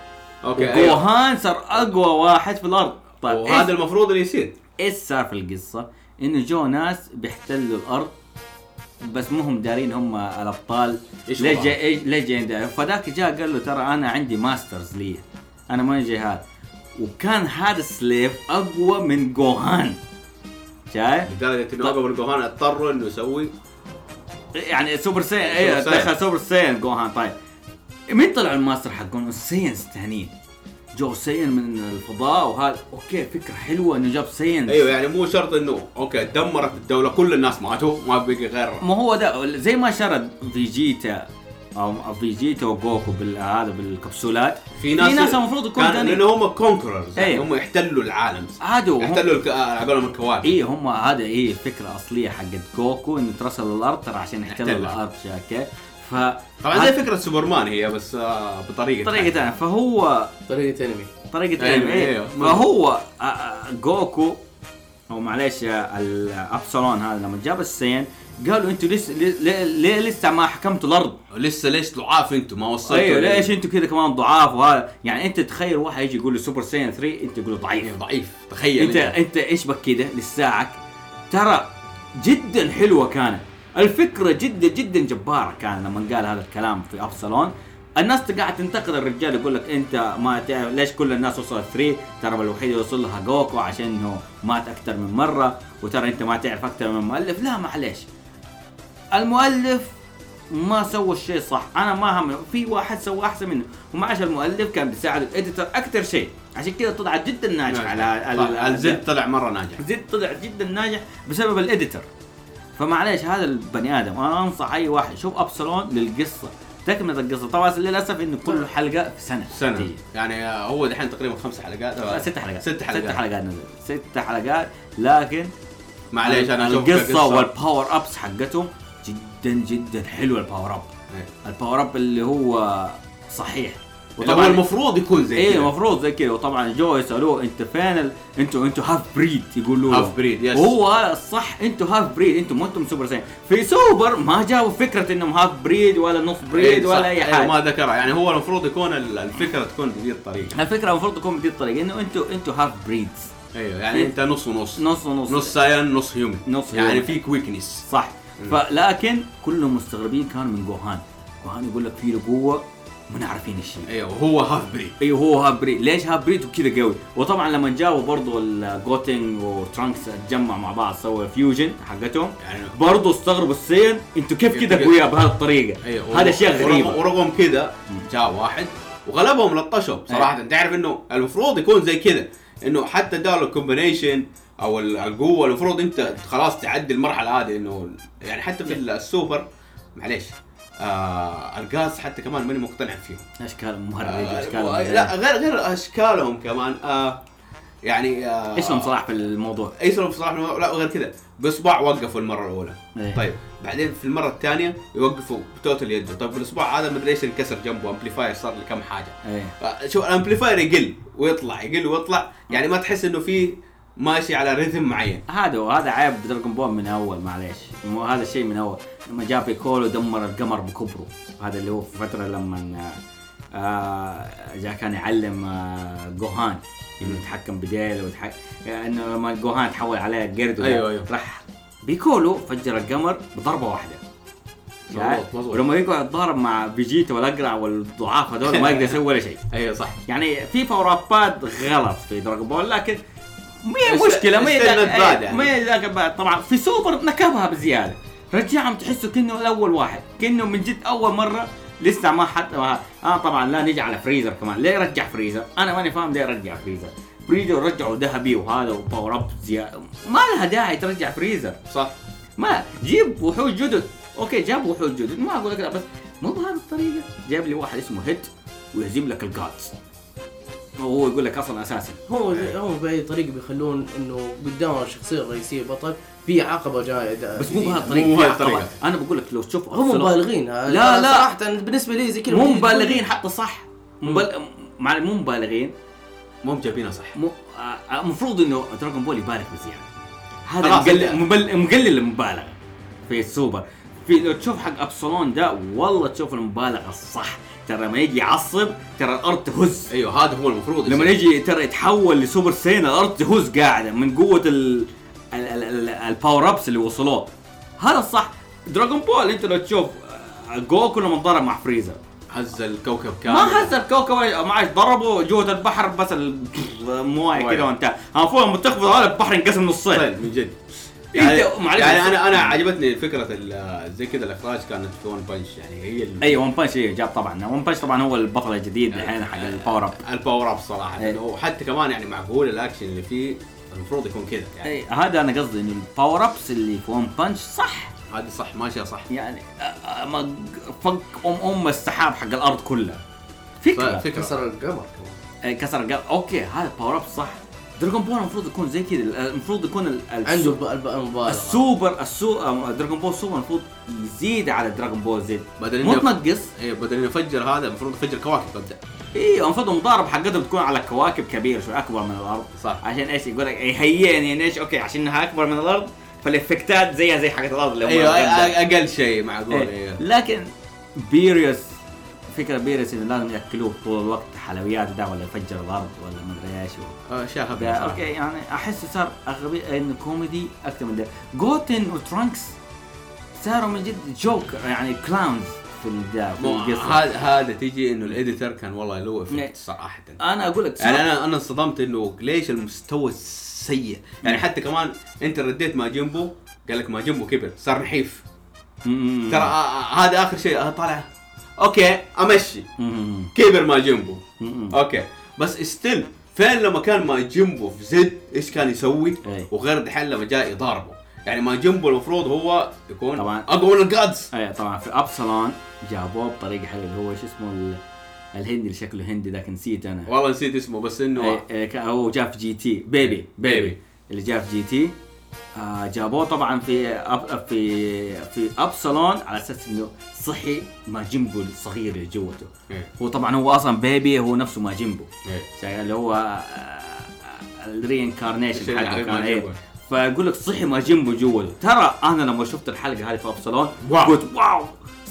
[SPEAKER 2] اوكي أيوة.
[SPEAKER 3] وجوهان صار اقوى واحد في الارض طيب
[SPEAKER 2] وهذا
[SPEAKER 3] إيش-
[SPEAKER 2] المفروض اللي يصير
[SPEAKER 3] ايش صار في القصه؟ انه جو ناس بيحتلوا الارض بس مو هم دارين هم الابطال
[SPEAKER 2] إيش
[SPEAKER 3] ليه
[SPEAKER 2] وضعهم؟
[SPEAKER 3] جاي- إيش- ليه جايين دارين؟ فذاك جاء قال له ترى انا عندي ماسترز لي انا ماني جاي هذا وكان هذا السليف اقوى من جوهان شايف؟
[SPEAKER 2] لدرجه انه
[SPEAKER 3] طب-
[SPEAKER 2] اقوى من جوهان اضطروا انه يسوي
[SPEAKER 3] يعني سوبر سين ايه
[SPEAKER 2] سوبر ساين.
[SPEAKER 3] دخل سوبر سين جوهان طيب مين طلع الماستر حقهم السينس ثانيين جو سين من الفضاء وهذا اوكي فكره حلوه انه جاب سينس
[SPEAKER 2] ايوه يعني مو شرط انه اوكي دمرت الدوله كل الناس ماتوا ما بقي غير
[SPEAKER 3] ما هو ده زي ما شرد فيجيتا او فيجيتا وجوكو بال- هذا بالكبسولات
[SPEAKER 2] في ناس
[SPEAKER 3] في ناس المفروض تكون
[SPEAKER 2] كان
[SPEAKER 3] ثاني
[SPEAKER 2] لانه هم كونكررز يعني
[SPEAKER 3] أيوة.
[SPEAKER 2] هم يحتلوا العالم
[SPEAKER 3] عادوا أيوه.
[SPEAKER 2] يحتلوا الك... آه، على قولهم الكواكب
[SPEAKER 3] اي هم هذا اي الفكره الاصليه حقت جوكو انه ترسل الارض ترى عشان يحتلوا
[SPEAKER 2] يحتلها.
[SPEAKER 3] الارض شاكه ف
[SPEAKER 2] طبعا زي فكره سوبرمان هي بس آه، بطريقه
[SPEAKER 3] طريقه ثانيه فهو
[SPEAKER 1] طريقة انمي
[SPEAKER 3] طريقه
[SPEAKER 2] أيوة،
[SPEAKER 3] أيوة أيوة
[SPEAKER 2] أيوة.
[SPEAKER 3] فهو آه، آه، جوكو او معليش آه، ال- ابسلون هذا لما جاب السين قالوا انتوا لسه ليه- ليه ليه لسه ما حكمتوا الارض
[SPEAKER 2] لسه ليش ضعاف انتم ما وصلتوا
[SPEAKER 3] ايوه
[SPEAKER 2] لل-
[SPEAKER 3] ليش انتوا كذا كمان ضعاف وهذا يعني انت تخيل واحد يجي يقول له سوبر ساين 3 انت تقول له ضعيف
[SPEAKER 2] إيه، ضعيف تخيل
[SPEAKER 3] انت انت ايش بك كذا لساعك ترى جدا حلوه كانت الفكره جدا جدا جباره كان لما قال هذا الكلام في ابسلون الناس قاعد تنتقد الرجال يقول لك انت ما تعرف ليش كل الناس وصلت 3 ترى الوحيد اللي وصل لها جوكو عشان انه مات اكثر من مره وترى انت ما تعرف اكثر من المؤلف لا معليش المؤلف ما سوى الشيء صح انا ما هم في واحد سوى احسن منه ومعاش المؤلف كان بيساعد الايديتر اكثر شيء عشان كذا طلعت جدا ناجحه على على- على-
[SPEAKER 2] الزد طلع مره ناجح
[SPEAKER 3] زد طلع جدا ناجح بسبب الاديتر فمعليش هذا البني ادم انا انصح اي واحد شوف ابسلون للقصه تكمله القصه طبعا للاسف انه
[SPEAKER 2] نعم.
[SPEAKER 3] كل حلقه في سنه
[SPEAKER 2] سنه
[SPEAKER 3] تيجي.
[SPEAKER 2] يعني هو دحين تقريبا خمس حلقات
[SPEAKER 3] لا، ست حلقات
[SPEAKER 2] ست
[SPEAKER 3] ست
[SPEAKER 2] حلقات
[SPEAKER 3] حلقات نزل ست حلقات لكن
[SPEAKER 2] معليش انا اشوف
[SPEAKER 3] القصه والباور ابس حقتهم جدا جدا حلوه الباور اب
[SPEAKER 2] إيه.
[SPEAKER 3] الباور اب اللي هو صحيح
[SPEAKER 2] وطبعا المفروض يكون زي
[SPEAKER 3] ايه
[SPEAKER 2] كده.
[SPEAKER 3] المفروض زي كذا وطبعا جو يسالوه انت فين ال... انتوا انتوا هاف بريد يقولوا له.
[SPEAKER 2] هاف بريد، يس.
[SPEAKER 3] وهو هذا الصح انتوا هاف بريد انتوا ما انتم سوبر ساين في سوبر ما جابوا فكره انهم هاف بريد ولا نص بريد
[SPEAKER 2] إيه،
[SPEAKER 3] ولا
[SPEAKER 2] صح.
[SPEAKER 3] اي
[SPEAKER 2] إيه،
[SPEAKER 3] حاجه
[SPEAKER 2] ما ذكرها يعني هو المفروض يكون ال- الفكره تكون بهذه الطريقه
[SPEAKER 3] الفكره المفروض تكون بدي الطريقه انه انتوا انتوا هاف بريدز
[SPEAKER 2] ايوه يعني
[SPEAKER 3] إيه.
[SPEAKER 2] انت نص ونص
[SPEAKER 3] نص ونص
[SPEAKER 2] نص ساين نص هيومن
[SPEAKER 3] نص
[SPEAKER 2] يعني
[SPEAKER 3] هيومن.
[SPEAKER 2] فيك ويكنس
[SPEAKER 3] صح فلكن كلهم مستغربين كانوا من جوهان جوهان يقول لك في له قوه ما نعرفين ايش هي
[SPEAKER 2] ايوه هو هاف بريد
[SPEAKER 3] ايوه هو هابريد ليش هابريد وكذا قوي وطبعا لما جابوا برضو الجوتنج وترانكس اتجمع مع بعض سووا الفيوجن حقتهم
[SPEAKER 2] يعني-
[SPEAKER 3] برضو استغربوا السين انتوا كيف كذا
[SPEAKER 2] كده-
[SPEAKER 3] قوية بهذه الطريقه
[SPEAKER 2] ايوه ورغم-
[SPEAKER 3] هذا شيء غريب
[SPEAKER 2] ورغم- ورغم كذا جاء واحد وغلبهم لطشهم صراحه تعرف انه المفروض يكون زي كذا انه حتى دار الكومبينيشن او ال- القوه المفروض انت خلاص تعدي المرحله هذه انه يعني حتى في السوبر معليش آه القاس حتى كمان ماني مقتنع فيهم
[SPEAKER 3] اشكال مهرج
[SPEAKER 2] آه
[SPEAKER 3] اشكال
[SPEAKER 2] و-
[SPEAKER 3] مهرج.
[SPEAKER 2] لا غير غير اشكالهم كمان آه يعني آه
[SPEAKER 3] ايش لهم صلاح في الموضوع
[SPEAKER 2] ايسلم بصراحه لا غير كذا باصبع وقفوا المره الاولى
[SPEAKER 3] إيه.
[SPEAKER 2] طيب بعدين في المره الثانيه يوقفوا بتوتال يده طيب بالاصبع هذا مدري ايش انكسر جنبه امبليفاير صار لي كم حاجه
[SPEAKER 3] ايه
[SPEAKER 2] آه، شوف الامبليفاير يقل ويطلع يقل ويطلع يعني ما تحس انه فيه ماشي على ريتم معين
[SPEAKER 3] هذا هذا عيب دراجون بول من اول معليش مو هذا الشيء من اول لما جاء بيكولو دمر القمر بكبره هذا اللي هو في فتره لما آه، آه، جاء كان يعلم آه، جوهان انه يتحكم بديل ويتحكم انه لما جوهان تحول عليه قرد وده،
[SPEAKER 2] أيوه، أيوه.
[SPEAKER 3] راح بيكولو فجر القمر بضربه واحده
[SPEAKER 2] مظبوط،
[SPEAKER 3] يعني
[SPEAKER 2] مظبوط.
[SPEAKER 3] ولما يقعد يتضارب مع فيجيتا والاقرع والضعاف هذول ما يقدر يسوي ولا شيء
[SPEAKER 2] ايوه صح
[SPEAKER 3] يعني في باورابات غلط في دراجون بول لكن مي
[SPEAKER 2] است-
[SPEAKER 3] مشكله مي
[SPEAKER 2] استنى
[SPEAKER 3] ذاك-
[SPEAKER 2] بعد
[SPEAKER 3] أي-
[SPEAKER 2] يعني.
[SPEAKER 3] مي ذاك بعد طبعا في سوبر نكبها بزياده رجعهم تحسه كانه الاول واحد كانه من جد اول مره لسه ما حتى ما اه طبعا لا نجي على فريزر كمان ليه رجع فريزر انا ماني فاهم ليه رجع فريزر فريزر رجعوا ذهبي وهذا وباور اب زياده ما لها داعي ترجع فريزر
[SPEAKER 2] صح
[SPEAKER 3] ما جيب وحوش جدد اوكي جاب وحوش جدد ما اقول لك لا بس مو بهذه الطريقه جاب لي واحد اسمه هيد ويهزم لك الجادز وهو يقول لك اصلا اساسي
[SPEAKER 1] هو هو باي طريقه بيخلون انه قدام الشخصيه الرئيسيه بطل في عقبه جايه
[SPEAKER 3] بس مو بهذه الطريقه
[SPEAKER 2] مو
[SPEAKER 3] في
[SPEAKER 2] بهذه
[SPEAKER 3] عقبة.
[SPEAKER 2] الطريقة.
[SPEAKER 3] انا بقول لك لو تشوف
[SPEAKER 1] يعني هم
[SPEAKER 3] أرسنال-
[SPEAKER 1] مبالغين
[SPEAKER 3] لا، لا.
[SPEAKER 1] صراحه بالنسبه لي زي كذا
[SPEAKER 3] مو مبالغين حتى صح مبال... مع مو مبالغين
[SPEAKER 2] مو مجابينها صح
[SPEAKER 3] مو- آه، المفروض انه دراجون بول يبالغ بزياده هذا
[SPEAKER 2] خلاص،
[SPEAKER 3] مقلل
[SPEAKER 2] انت-
[SPEAKER 3] مبل- مقلل المبالغه في السوبر في لو تشوف حق ابسلون ده والله تشوف المبالغه الصح ترى لما يجي يعصب ترى الارض تهز
[SPEAKER 2] ايوه هذا هو المفروض
[SPEAKER 3] لما
[SPEAKER 2] يصير.
[SPEAKER 3] يجي ترى يتحول لسوبر سين الارض تهز قاعده من قوه ال ال- ال- ال- الباور ابس اللي وصلوه هذا الصح دراجون بول انت لو تشوف آه، جوكو لما ضرب مع فريزر
[SPEAKER 2] هز الكوكب كامل
[SPEAKER 3] ما هز الكوكب ولا- ما عاد ضربوا جوه البحر بس [LAUGHS] المويه كذا وانتهى المفروض لما تخفض هذا البحر ينقسم نصين
[SPEAKER 2] طيب، من جد
[SPEAKER 3] يعني-
[SPEAKER 2] يعني انا انا عجبتني فكره ال- زي كذا الاخراج كانت في ون بنش يعني هي ال-
[SPEAKER 3] اي ون بانش إيه، جاب طبعا ون بانش طبعا هو البطل الجديد
[SPEAKER 2] إيه.
[SPEAKER 3] الحين حق الباور اب
[SPEAKER 2] الباور اب صراحه
[SPEAKER 3] إيه.
[SPEAKER 2] وحتى كمان يعني معقول الاكشن اللي فيه المفروض يكون كذا يعني
[SPEAKER 3] اي هذا انا قصدي انه الباور ابس اللي في ون بانش صح
[SPEAKER 2] هذه صح ماشيه صح
[SPEAKER 3] يعني آه، آه، ما- فك ام ام السحاب حق الارض كلها إيه، فكره
[SPEAKER 2] فكره
[SPEAKER 1] كسر القمر كمان
[SPEAKER 3] آه، كسر قال اوكي هذا باور اب صح دراجون بول المفروض يكون زي كذا المفروض يكون ال- ال-
[SPEAKER 1] عنده الب- الب- المبالغه
[SPEAKER 3] السوبر السو آه، دراجون بول سوبر المفروض يزيد على دراجون بول زد
[SPEAKER 2] بدل
[SPEAKER 3] مو
[SPEAKER 2] إنه-
[SPEAKER 3] تنقص
[SPEAKER 2] ايه بدل انه يفجر هذا المفروض يفجر كواكب ابدا
[SPEAKER 3] ايوه المفروض المضارب حقتهم تكون على كواكب كبيره شو اكبر من الارض
[SPEAKER 2] صح.
[SPEAKER 3] عشان ايش يقول لك إيه هيني يعني ايش اوكي عشان انها اكبر من الارض فالافكتات زيها زي حقت الارض اللي هم
[SPEAKER 2] ايوه
[SPEAKER 3] الجامدة.
[SPEAKER 2] أ- اقل شيء معقول
[SPEAKER 3] إيه.
[SPEAKER 2] ايوه
[SPEAKER 3] لكن بيريوس فكره بيريوس انه لازم ياكلوه طول الوقت حلويات ده ولا يفجر الارض ولا مدري ايش
[SPEAKER 2] آه، شاهب
[SPEAKER 3] ده
[SPEAKER 2] صراحة.
[SPEAKER 3] اوكي يعني احسه صار اغبي انه كوميدي اكثر من ده جوتن وترانكس صاروا من جد جوك يعني كلاونز في الدا في
[SPEAKER 2] مو-
[SPEAKER 3] القصه
[SPEAKER 2] هذا هذا تيجي انه الاديتر كان والله له
[SPEAKER 3] نعم.
[SPEAKER 2] افكت صراحه
[SPEAKER 3] انا اقول لك صار-
[SPEAKER 2] يعني انا انا انصدمت انه ليش المستوى السيء يعني حتى كمان انت رديت مع جنبه قال لك ما جنبه كبر صار نحيف
[SPEAKER 3] مم.
[SPEAKER 2] ترى آه، آه، هذا اخر شيء آه، طالع اوكي امشي
[SPEAKER 3] مم.
[SPEAKER 2] كبر ما جنبه
[SPEAKER 3] مم.
[SPEAKER 2] اوكي بس ستيل فين لما كان ما جنبه في زد ايش كان يسوي
[SPEAKER 3] أي.
[SPEAKER 2] وغير دحين لما جاء يضاربه يعني ما جنبه المفروض هو يكون
[SPEAKER 3] طبعاً.
[SPEAKER 2] اقوى من الجادز
[SPEAKER 3] اي طبعا في ابسلون جابوه بطريقه حلوه اللي هو شو اسمه ال- الهندي اللي شكله هندي ذاك نسيت انا
[SPEAKER 2] والله نسيت اسمه بس انه
[SPEAKER 3] إيه، إيه، كان- هو جاء في جي تي بيبي بيبي
[SPEAKER 2] إيه. بيبي.
[SPEAKER 3] اللي جاء في جي تي آه جابوه طبعا في أب في في ابسلون على اساس انه صحي ما جنبه الصغير اللي جوته
[SPEAKER 2] إيه.
[SPEAKER 3] هو طبعا هو اصلا بيبي هو نفسه ما جنبه
[SPEAKER 2] إيه.
[SPEAKER 3] شايف اللي هو آه، الرينكارنيشن
[SPEAKER 2] الشيء اللي
[SPEAKER 3] حقه كان
[SPEAKER 2] ما
[SPEAKER 3] ايه
[SPEAKER 2] جنبه.
[SPEAKER 3] فاقول لك صحي ما جنبه جوته ترى انا لما شفت الحلقه هذه في ابسلون
[SPEAKER 2] واو.
[SPEAKER 3] قلت واو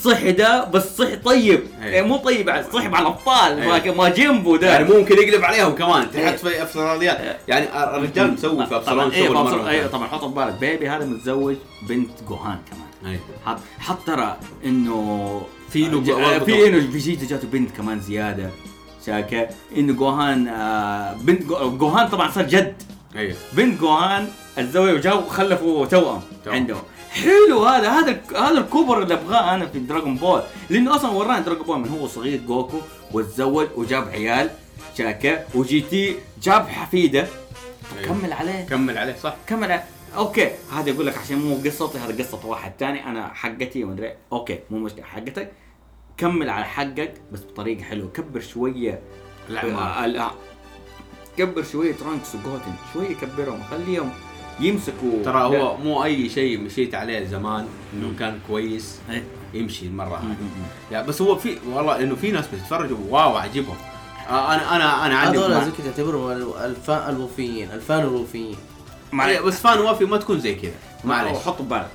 [SPEAKER 3] صحي ده بس صحي طيب
[SPEAKER 2] إيه.
[SPEAKER 3] إيه، مو طيب يعني صحي مع الابطال ما-
[SPEAKER 2] إيه.
[SPEAKER 3] ما جنبه ده
[SPEAKER 2] يعني ممكن يقلب عليهم كمان
[SPEAKER 3] إيه.
[SPEAKER 2] تحط في افتراضيات يعني الرجال مسوي في
[SPEAKER 3] طبعا
[SPEAKER 2] ابسلون
[SPEAKER 3] ايه
[SPEAKER 2] شغل
[SPEAKER 3] في أبسلون-
[SPEAKER 2] مره
[SPEAKER 3] ايه طبعا حط في بالك بيبي هذا متزوج بنت جوهان كمان
[SPEAKER 2] إيه.
[SPEAKER 3] حط حط ترى انه
[SPEAKER 2] فينو
[SPEAKER 3] ج-
[SPEAKER 2] برضه
[SPEAKER 3] في انه فيجيتا جاته بنت كمان زياده شاكه انه جوهان آه، بنت جو- جوهان طبعا صار جد
[SPEAKER 2] ايوه
[SPEAKER 3] بنت جوهان اتزوجوا وجابوا خلفوا توأم
[SPEAKER 2] توأم.
[SPEAKER 3] عندهم حلو هذا هذا هذا الكبر اللي ابغاه انا في دراغون بول لانه اصلا ورانا دراغون بول من هو صغير جوكو وتزوج وجاب عيال شاكا وجي تي جاب حفيده
[SPEAKER 2] أيوه.
[SPEAKER 3] كمل عليه
[SPEAKER 2] كمل عليه صح
[SPEAKER 3] كمل عليه اوكي هذا يقول لك عشان مو قصتي هذا قصه واحد ثاني انا حقتي ومدري إيه. اوكي مو مشكله حقتك كمل على حقك بس بطريقه حلوه كبر شويه
[SPEAKER 2] الأعمار.
[SPEAKER 3] آه، لا. كبر شويه ترانكس وجوتن شويه كبرهم خليهم يمسكوا
[SPEAKER 2] ترى هو مو اي شيء مشيت عليه زمان انه كان كويس
[SPEAKER 3] إيه.
[SPEAKER 2] يمشي المره
[SPEAKER 3] مم.
[SPEAKER 2] هذه يعني بس هو في والله انه في ناس بتتفرج واو عجبهم آه، انا انا انا عندي
[SPEAKER 1] هذول
[SPEAKER 2] مع-
[SPEAKER 1] زي كذا تعتبرهم ال- الفا الوفيين الفان الوفيين
[SPEAKER 2] معليش إيه، بس فان وافي ما تكون زي كذا معليش
[SPEAKER 3] معلش حط ببالك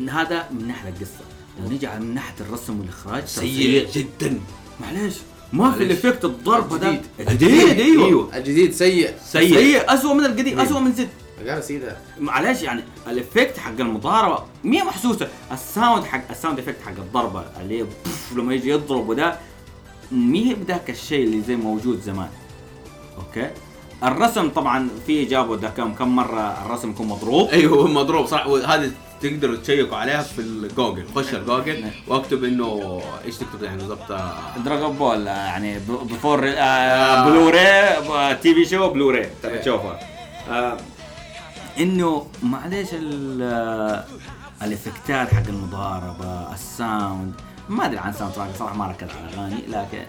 [SPEAKER 3] إن هذا من ناحيه القصه ونيجي على من ناحيه الرسم والاخراج ترى
[SPEAKER 2] سيء جدا
[SPEAKER 3] معليش ما في
[SPEAKER 2] معليش.
[SPEAKER 3] الافكت الضرب هذا
[SPEAKER 1] الجديد.
[SPEAKER 3] الجديد
[SPEAKER 2] أيوه.
[SPEAKER 3] ايوه
[SPEAKER 1] الجديد سيء
[SPEAKER 2] سيء
[SPEAKER 3] سيء اسوء من القديم اسوء من زد
[SPEAKER 1] قال سيدة
[SPEAKER 3] معلش يعني الافكت حق المضاربه مية محسوسه الساوند حق الساوند افكت حق الضربه اللي هي بوف لما يجي يضرب وده مية بذاك الشيء اللي زي موجود زمان اوكي الرسم طبعا في جابوا ده كم كم مره الرسم يكون مضروب
[SPEAKER 2] ايوه هو مضروب صح وهذا تقدروا تشيكوا عليها في الجوجل خش الجوجل واكتب انه ايش تكتب يعني بالضبط آه،
[SPEAKER 3] دراغون بول آه، يعني ب- بفور آه بلوري تي في شو بلوري تبي تشوفها آه، انه معليش ال- آه، الافكتات حق المضاربه الساوند ما ادري عن ساوند تراك صراحه ما ركزت على الاغاني لكن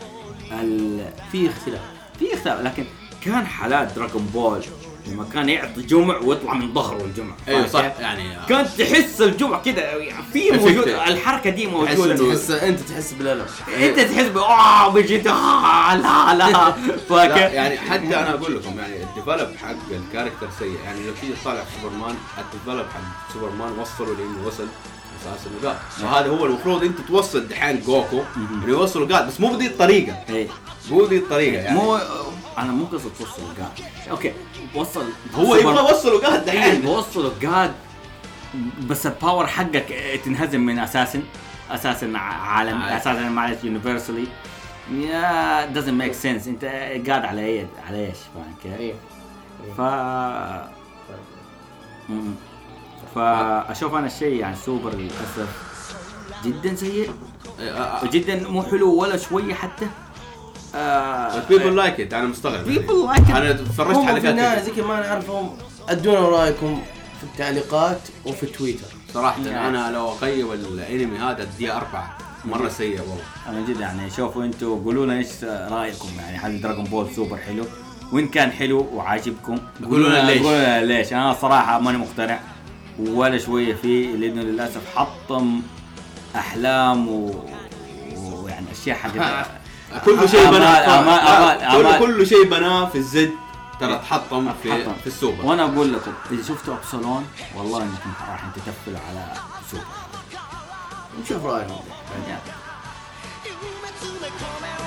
[SPEAKER 3] ال...
[SPEAKER 1] في اختلاف
[SPEAKER 3] في اختلاف لكن كان حالات دراغون بول لما كان يعطي جمع ويطلع من ظهره الجمع
[SPEAKER 2] ايوه صح
[SPEAKER 3] فاهم كيف؟
[SPEAKER 2] يعني آه،
[SPEAKER 3] كنت تحس الجمع كذا يعني في موجود
[SPEAKER 2] Effective.
[SPEAKER 3] الحركه دي
[SPEAKER 2] تحس
[SPEAKER 3] موجوده
[SPEAKER 2] إنه-
[SPEAKER 1] تحس انت تحس بالالم
[SPEAKER 3] انت تحس ب اوه بيجيت آه لا لا فاك
[SPEAKER 2] لا يعني حتى انا اقول لكم يعني الديفلوب حق الكاركتر سيء يعني لو تيجي تطالع في سوبرمان الديفلوب حق سوبرمان وصلوا لانه وصل اساس انه قال وهذا هو المفروض انت توصل دحين جوكو انه يوصلوا قال بس مو بذي الطريقه
[SPEAKER 3] إيه.
[SPEAKER 2] مو بذي الطريقه يعني
[SPEAKER 3] مو انا مو قصه توصل القاد اوكي وصل
[SPEAKER 2] هو
[SPEAKER 3] سوبر-
[SPEAKER 2] يبغى يوصلوا قال دحين
[SPEAKER 3] ايوه وصل القاد بس الباور حقك إيه، تنهزم من اساسن اساسن عالم
[SPEAKER 2] عالم.
[SPEAKER 3] اساسن معلش يونيفرسالي يا doesn't ميك سنس انت قاعد على ايه على ايش فاهم كيف؟
[SPEAKER 1] ايوه
[SPEAKER 3] ف مم. فاشوف انا الشيء يعني سوبر للاسف جدا سيء جدا مو حلو ولا شويه حتى آه،
[SPEAKER 2] بيبل لايك ات انا مستغرب
[SPEAKER 3] People like it.
[SPEAKER 2] انا تفرجت
[SPEAKER 1] هم في
[SPEAKER 2] حلقات
[SPEAKER 1] ناس زي كذا ما نعرفهم ادونا رايكم في التعليقات وفي تويتر
[SPEAKER 2] صراحه انا لو اقيم الانمي هذا اديه اربعه مره سيء والله
[SPEAKER 3] انا جد يعني شوفوا انتوا قولوا لنا ايش رايكم يعني هل دراجون بول سوبر حلو وان كان حلو وعاجبكم
[SPEAKER 2] قولوا لنا ليش.
[SPEAKER 3] قولوا لنا ليش انا صراحه ماني مقتنع ولا شويه فيه لانه للاسف حطم احلام و... ويعني اشياء حقت
[SPEAKER 2] كل شيء
[SPEAKER 3] أمال-
[SPEAKER 2] بناه
[SPEAKER 3] أمال- أمال-
[SPEAKER 2] كل-
[SPEAKER 3] أمال.
[SPEAKER 2] كل شيء بناه في الزد ترى تحطم
[SPEAKER 3] حطم.
[SPEAKER 2] [LAUGHS] في في السوبر
[SPEAKER 3] وانا اقول لكم اذا شفتوا ابسلون والله انكم راح تتفلوا على سوبر
[SPEAKER 1] نشوف رايهم
[SPEAKER 3] يعني.
[SPEAKER 6] 夢詰め込めろ